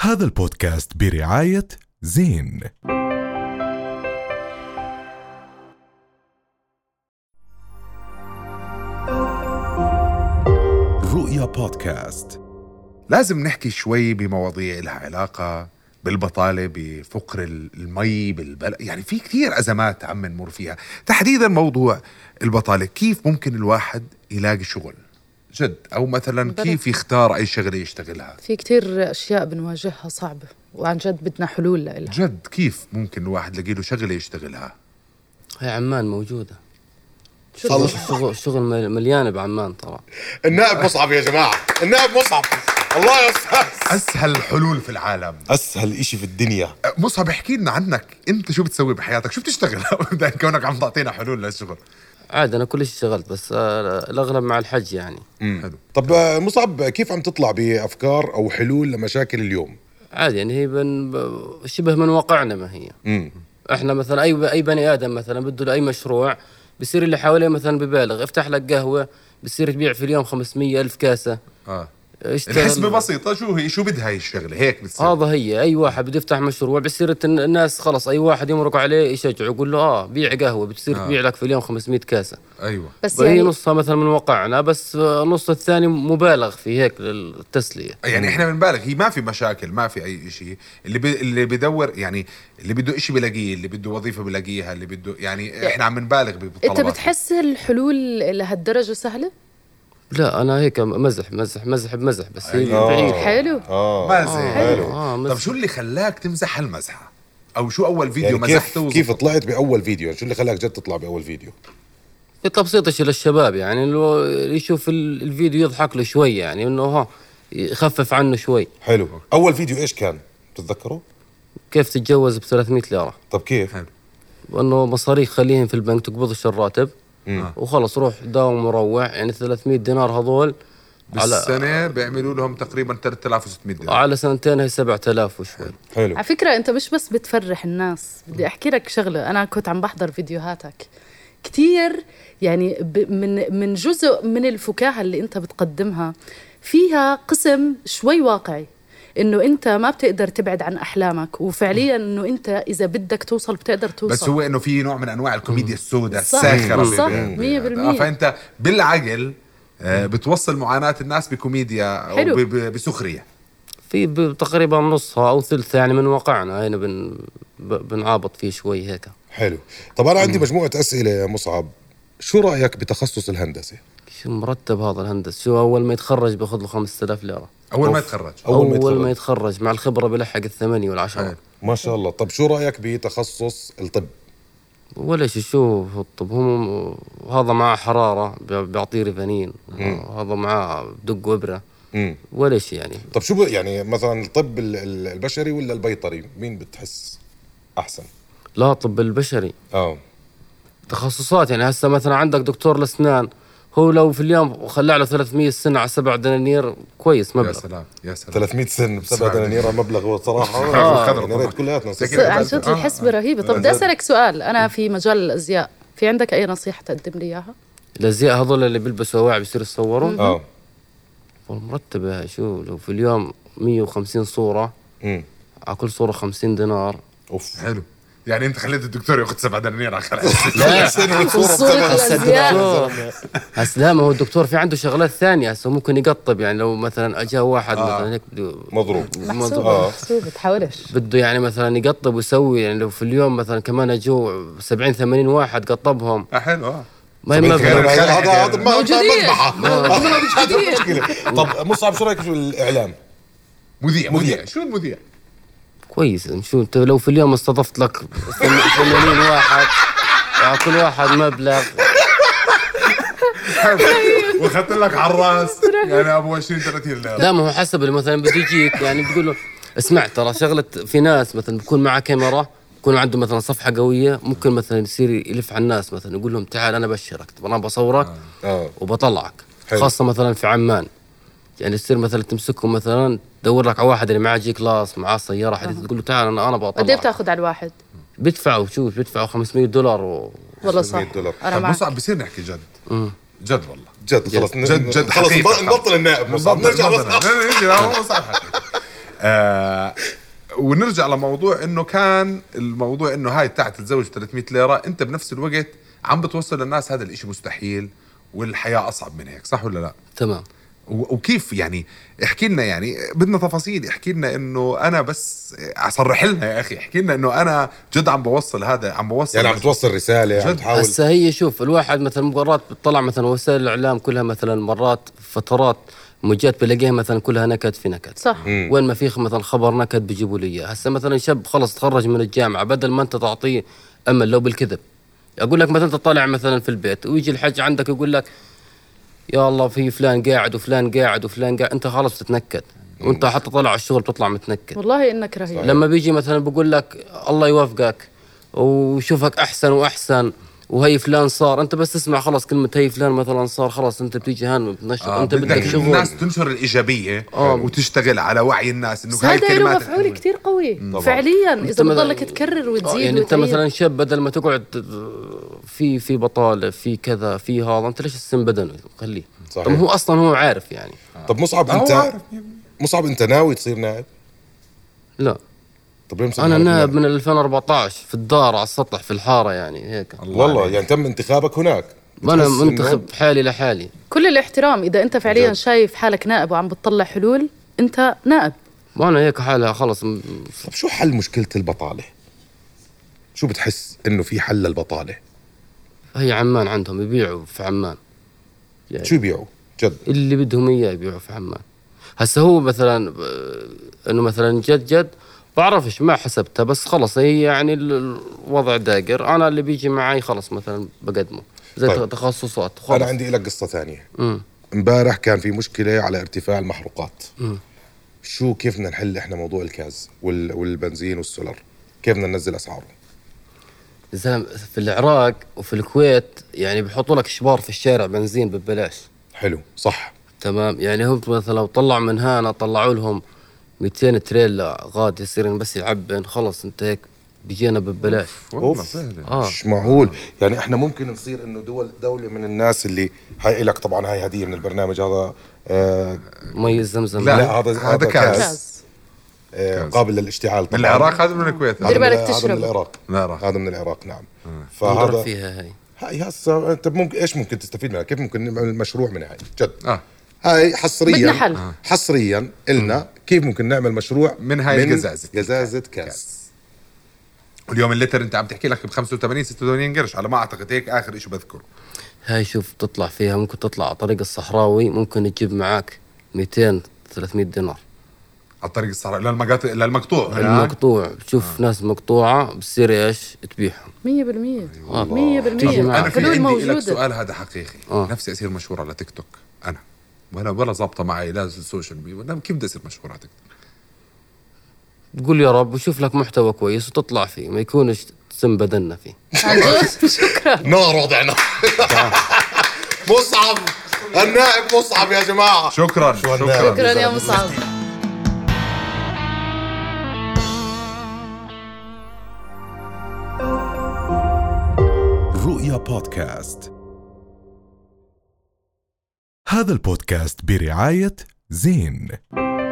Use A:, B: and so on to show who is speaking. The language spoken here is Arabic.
A: هذا البودكاست برعاية زين رؤيا بودكاست
B: لازم نحكي شوي بمواضيع لها علاقة بالبطالة بفقر المي بالبلد يعني في كثير أزمات عم نمر فيها تحديدا موضوع البطالة كيف ممكن الواحد يلاقي شغل جد أو مثلا
C: بلد.
B: كيف يختار أي شغلة يشتغلها
C: في كتير أشياء بنواجهها صعبة وعن جد بدنا حلول لها
B: جد كيف ممكن الواحد يلاقي له شغلة يشتغلها
D: هي عمان موجودة
C: شو
D: الشغل الشغل مل- مليانة بعمان ترى
E: النائب مصعب يا جماعة النائب مصعب الله يا أستاذ
B: أسهل حلول في العالم
E: أسهل إشي في الدنيا
B: أه، مصعب احكي لنا عنك أنت شو بتسوي بحياتك شو بتشتغل بدك كونك عم تعطينا حلول للشغل
D: عادي أنا كل شيء اشتغلت بس آه، الأغلب مع الحج يعني
B: حلو
E: طب آه، مصعب كيف عم تطلع بأفكار أو حلول لمشاكل اليوم
D: عادي يعني هي بن ب- شبه من واقعنا ما هي
E: مم.
D: احنا مثلا أي أي بني آدم مثلا بده له أي مشروع بصير اللي حواليه مثلا ببالغ افتح لك قهوة بصير تبيع في اليوم 500 ألف كاسة
B: آه.
D: اشتغل-
B: الحسبة بسيطة شو هي شو بدها هي الشغلة هيك بتصير
D: هذا هي اي واحد بده يفتح مشروع بصير الت- الناس خلص اي واحد يمرق عليه يشجعه يقول له اه بيع قهوه بتصير
B: آه.
D: تبيع لك في اليوم 500 كاسه
B: أيوة
C: بس
D: هي
C: يعني
D: نصها مثلا من واقعنا بس نص الثاني مبالغ فيه هيك للتسليه
B: يعني احنا بنبالغ هي ما في مشاكل ما في اي شيء اللي بي اللي بدور يعني اللي بده شيء بلاقيه اللي بده وظيفه بلاقيها اللي بده يعني احنا عم نبالغ
C: أنت
B: بالطلبات
C: بتحس الحلول لهالدرجة سهلة؟
D: لا انا هيك مزح مزح مزح بمزح بس هي
B: أيوة.
E: أيوه.
D: بعيد
C: حلو
E: آه
B: مازح
D: حلو. آه، مزح.
B: طب شو اللي خلاك تمزح هالمزحه او شو اول فيديو
E: يعني
B: يعني
E: كيف,
B: مزحته
E: كيف طلعت بأول فيديو شو اللي خلاك جد تطلع بأول فيديو
D: يطلع بسيطه شيء للشباب يعني لو يشوف ال- الفيديو يضحك له شوي يعني انه ها يخفف عنه شوي
E: حلو أول فيديو إيش كان بتتذكره
D: كيف تتجوز ب 300 ليره
E: طب كيف
B: حلو.
D: وانه مصاريف خليهم في البنك تقبضش الراتب
E: مم.
D: وخلص روح داوم وروح يعني 300 دينار هذول على
B: بالسنه بيعملوا لهم تقريبا 3600 دينار
D: على سنتين هي 7000 وشوي
E: حلو
C: على فكرة أنت مش بس بتفرح الناس بدي أحكي لك شغلة أنا كنت عم بحضر فيديوهاتك كتير يعني ب- من من جزء من الفكاهة اللي أنت بتقدمها فيها قسم شوي واقعي انه انت ما بتقدر تبعد عن احلامك وفعليا انه انت اذا بدك توصل بتقدر توصل
B: بس هو انه في نوع من انواع الكوميديا السوداء
C: صح،
B: الساخره
C: صح،
B: ب- ب- ب-
C: مية بالمية.
B: آه، فانت بالعقل آه، بتوصل معاناه الناس بكوميديا او
C: حلو.
B: ب- ب- بسخريه
D: في ب- تقريبا نصها او ثلثها يعني من واقعنا هنا بن ب- بنعابط فيه شوي هيك
E: حلو طب أنا عندي مجموعة أسئلة يا مصعب شو رأيك بتخصص الهندسة
D: شو مرتب هذا الهندس شو اول ما يتخرج بياخذ له 5000 ليره
B: اول ما يتخرج
E: أول
D: اول,
E: ما يتخرج. إيه.
D: ما يتخرج مع الخبره بلحق الثمانيه والعشره
E: ما شاء الله طب شو رأيك بتخصص الطب
D: ولا شيء شو الطب هم هذا معاه حراره بي- بيعطيه ريفانين
E: إيه.
D: هذا معاه بدق وبره
E: مم.
D: ولا شيء يعني
E: طب شو ب- يعني مثلا الطب ال- ال- البشري ولا البيطري مين بتحس احسن
D: لا طب البشري
B: آه.
E: اه
D: تخصصات يعني هسه مثلا عندك دكتور الاسنان هو لو في اليوم خلع له 300 سنه على سبع دنانير كويس
B: يا
D: مبلغ
B: سلام يا سلام
E: 300 سن بسبعة
B: سبعة
E: دنانير مبلغ هو صراحه
B: آه.
E: يعني يا ريت كلياتنا نصير
B: بس
C: بس
B: كده
C: عن
B: بس-
C: جد
B: آه،
C: الحسبة رهيبة طب بدي
E: بس-
C: أسألك سؤال أنا في مجال الأزياء في عندك أي نصيحة تقدم لي إياها؟
D: الازياء هذول اللي بيلبسوا واعي بيصيروا يصوروا
E: اه
D: والمرتبه شو لو في اليوم 150 صوره
E: امم
D: على كل صوره 50 دينار
E: اوف
B: حلو يعني انت خليت الدكتور ياخذ 7 دنانير على خلع
C: صورة الأزياء
D: هسه لا ما هو الدكتور في عنده شغلات ثانيه هسه ممكن يقطب يعني لو مثلا اجاه واحد مثلا هيك بده-
E: مضروب
C: محسوبة محسوبة تحاولش
D: بده يعني مثلا يقطب ويسوي يعني لو في اليوم مثلا كمان اجوا 70 80 واحد قطبهم
B: آه، حلو اه
D: ما
E: طب
D: هي
E: أنت
D: مبلغ.
E: كمان- هذا
B: يعني.
E: هذا ما- ما
C: موجودين.
E: مذبحه
C: كتير.
E: طب مصعب شو رايك في الاعلام
B: مذيع مذيع
E: مذيع.
B: شو المذيع؟
D: كويس شو انت لو في اليوم استضفت لك 80 واحد يعني كل واحد مبلغ
B: واخذت لك على الراس يعني ابو 20 30 ليره
D: لا ما هو حسب اللي مثلا بده يجيك يعني بتقول له اسمع ترى شغله في ناس مثلا بكون معاه كاميرا بكون عنده مثلا صفحه قويه ممكن مثلا يصير يلف على الناس مثلا يقول لهم تعال انا بشرك انا بصورك
E: اه
D: وبطلعك
E: حلو.
D: خاصه مثلا في عمان يعني يصير مثلا تمسكهم مثلا تدور لك على واحد اللي معاه جي كلاس معاه سياره حديثه تقول له تعال انا انا
C: قد إيه
D: بطلعك
C: بتاخذ على الواحد؟
D: بيدفعوا شوف بيدفعوا 500 دولار و...
C: والله صح
E: 500 دولار.
C: أنا معك
B: مصعب بصير نحكي جد جد والله
E: جد خلص
B: جد جد
E: خلص
B: حقيقة.
E: نبطل النائب مصعب نرجع
B: نرجع
E: بس
B: نرجع مصعب آه ونرجع لموضوع انه كان الموضوع انه هاي بتاعت تتزوج 300 ليره انت بنفس الوقت عم بتوصل للناس هذا الاشي مستحيل والحياه اصعب من هيك صح ولا لا؟
D: تمام
B: و- وكيف يعني احكي لنا يعني بدنا تفاصيل احكي لنا انه انا بس صرح لنا يا اخي احكي لنا انه انا جد عم بوصل هذا عم بوصل
E: يعني عم بتوصل رساله عم
B: جد.
E: تحاول
D: هسه هي شوف الواحد مثلا مرات بتطلع مثلا وسائل الاعلام كلها مثلا مرات فترات موجات بلاقيها مثلا كلها نكد في نكد
C: صح
D: وين ما في مثلا خبر نكد بيجيبوا لي اياه هسه مثلا شاب خلص تخرج من الجامعه بدل ما انت تعطيه امل لو بالكذب اقول لك مثلا انت طالع مثلا في البيت ويجي الحج عندك يقول لك يا الله في فلان قاعد وفلان قاعد وفلان قاعد انت خلص بتتنكد وانت حتى طالع على الشغل بتطلع متنكد
C: والله انك رهيب
D: لما بيجي مثلا بقول لك الله يوفقك وشوفك احسن واحسن وهي فلان صار انت بس تسمع خلاص كلمه هي فلان مثلا صار خلاص انت بتيجي هان بتنشر
B: آه
D: انت بدك
B: بدك
D: شغل آه.
B: الناس تنشر الايجابيه وتشتغل على وعي الناس انه
C: بس
B: هاي
C: هذا له
B: الكلمات
C: مفعول كثير قوي فعليا اذا
D: مثلاً-
C: بتضلك تكرر
D: آه،
C: وتزيد
D: يعني انت
C: وتعيد.
D: مثلا شاب بدل ما تقعد آه، في في بطاله في كذا في هذا انت ليش السن بدنه خليه
E: صحيح.
D: طب هو اصلا هو عارف يعني
E: طب مصعب
B: آه، هو
E: انت
B: عارف.
E: مصعب انت ناوي تصير نائب
D: لا
E: طب ليه مسمي
D: انا
E: حالك
D: نائب من 2014 في الدار على السطح في الحاره يعني هيك
E: والله يعني تم انتخابك هناك
D: ما انا
E: بتحس إنه-
D: منتخب حالي لحالي
C: كل الاحترام اذا انت فعليا
E: جد.
C: شايف حالك نائب وعم بتطلع حلول انت نائب
D: ما انا هيك حالها خلص م-
E: طب شو حل مشكله البطاله شو بتحس انه في حل للبطاله
D: هي عمان عندهم يبيعوا في عمان
E: شو يبيعوا جد
D: اللي بدهم اياه يبيعوا في عمان هسه هو مثلا آه، انه مثلا جد جد بعرفش ما حسبتها بس خلص هي يعني ال- الوضع داقر انا اللي بيجي معي خلص مثلا بقدمه زي
E: طيب.
D: طيب. تخصصات خلص
E: انا عندي لك قصه ثانيه امبارح كان في مشكله على ارتفاع المحروقات شو كيف بدنا نحل احنا موضوع الكاز وال... والبنزين والسولر كيف بدنا ننزل اسعاره
D: زلم في العراق وفي الكويت يعني بيحطوا لك شبار في الشارع بنزين ببلاش
E: حلو صح
D: تمام يعني هم مثلا لو طلعوا من هنا طلعوا لهم 200 تريلا غاد يصير بس يعبن خلص انت هيك بيجينا ببلاش
B: والله
E: أوف.
B: سهلة.
D: اه
E: مش معقول يعني احنا ممكن نصير انه دول دوله من الناس اللي هاي لك طبعا هاي هديه من البرنامج هذا آه
D: مي الزمزم
B: لا،
E: لا هذا
B: هذا
E: هذا
B: كاس.
E: كاس
C: جاز
E: آه قابل للاشتعال
B: من
E: طبعا
B: العراق هذا من الكويت
E: هذا
B: هذا
C: دير
E: من-
C: بالك
E: هذا من
C: تشرب.
E: العراق
B: من العراق.
E: هذا من العراق نعم
D: هذا
E: فهذا
D: فيها هاي
E: هاي هسه انت ممكن ايش ممكن تستفيد منها؟ كيف ممكن نعمل مشروع من هاي؟ جد
B: آه.
E: هاي حصريا
C: بدنا حل.
E: حصريا النا كيف ممكن نعمل مشروع
B: من هاي القزازة.
E: قزازة كاس
B: واليوم اللتر انت عم تحكي لك ب 85 86 قرش على ما اعتقد هيك اخر شيء بذكره
D: هاي شوف تطلع فيها ممكن تطلع على طريق الصحراوي ممكن تجيب معاك 200 300 دينار
B: على طريق الصحراء للمقاطع للمقطوع هناك.
D: المقطوع بتشوف ناس مقطوعه بصير ايش تبيعهم
C: 100% 100%
D: تيجي معك.
B: انا في
C: حلول
B: عندي لك
C: موجوده
B: سؤال هذا حقيقي
D: آه.
B: نفسي اصير مشهور على تيك توك انا ولا ولا ظابطه معي لا السوشيال ميديا ولا كيف بدي اصير مشهور على تيك توك
D: تقول يا رب وشوف لك محتوى كويس وتطلع فيه ما يكونش سم بدنا فيه
C: عن جد شكرا
E: نار وضعنا مصعب النائب مصعب يا جماعه
B: شكرا شكرا
C: شكرا يا مصعب
A: رؤيا بودكاست هذا البودكاست برعاية زين